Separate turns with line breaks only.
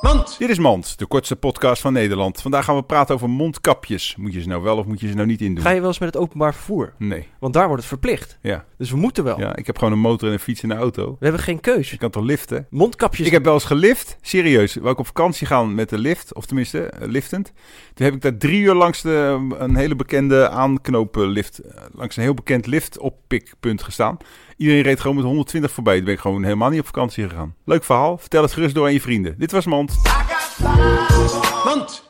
Mand!
Dit is Mand, de kortste podcast van Nederland. Vandaag gaan we praten over mondkapjes. Moet je ze nou wel of moet je ze nou niet indoen?
Ga je wel eens met het openbaar vervoer?
Nee,
Want daar wordt het verplicht.
ja.
Dus we moeten wel.
ja. Ik heb gewoon een motor en een fiets en een auto.
We hebben geen keus.
Je kan toch liften?
Mondkapjes.
Ik heb wel eens gelift, serieus. Wou ik op vakantie gaan met de lift, of tenminste eh, liftend. Toen heb ik daar drie uur langs de, eh, een hele bekende aanknopenlift, eh, langs een heel bekend liftoppikpunt gestaan. Iedereen reed gewoon met 120 voorbij. Toen ben ik gewoon helemaal niet op vakantie gegaan. Leuk verhaal, vertel het gerust door aan je vrienden. Dit was Mand.
Mand!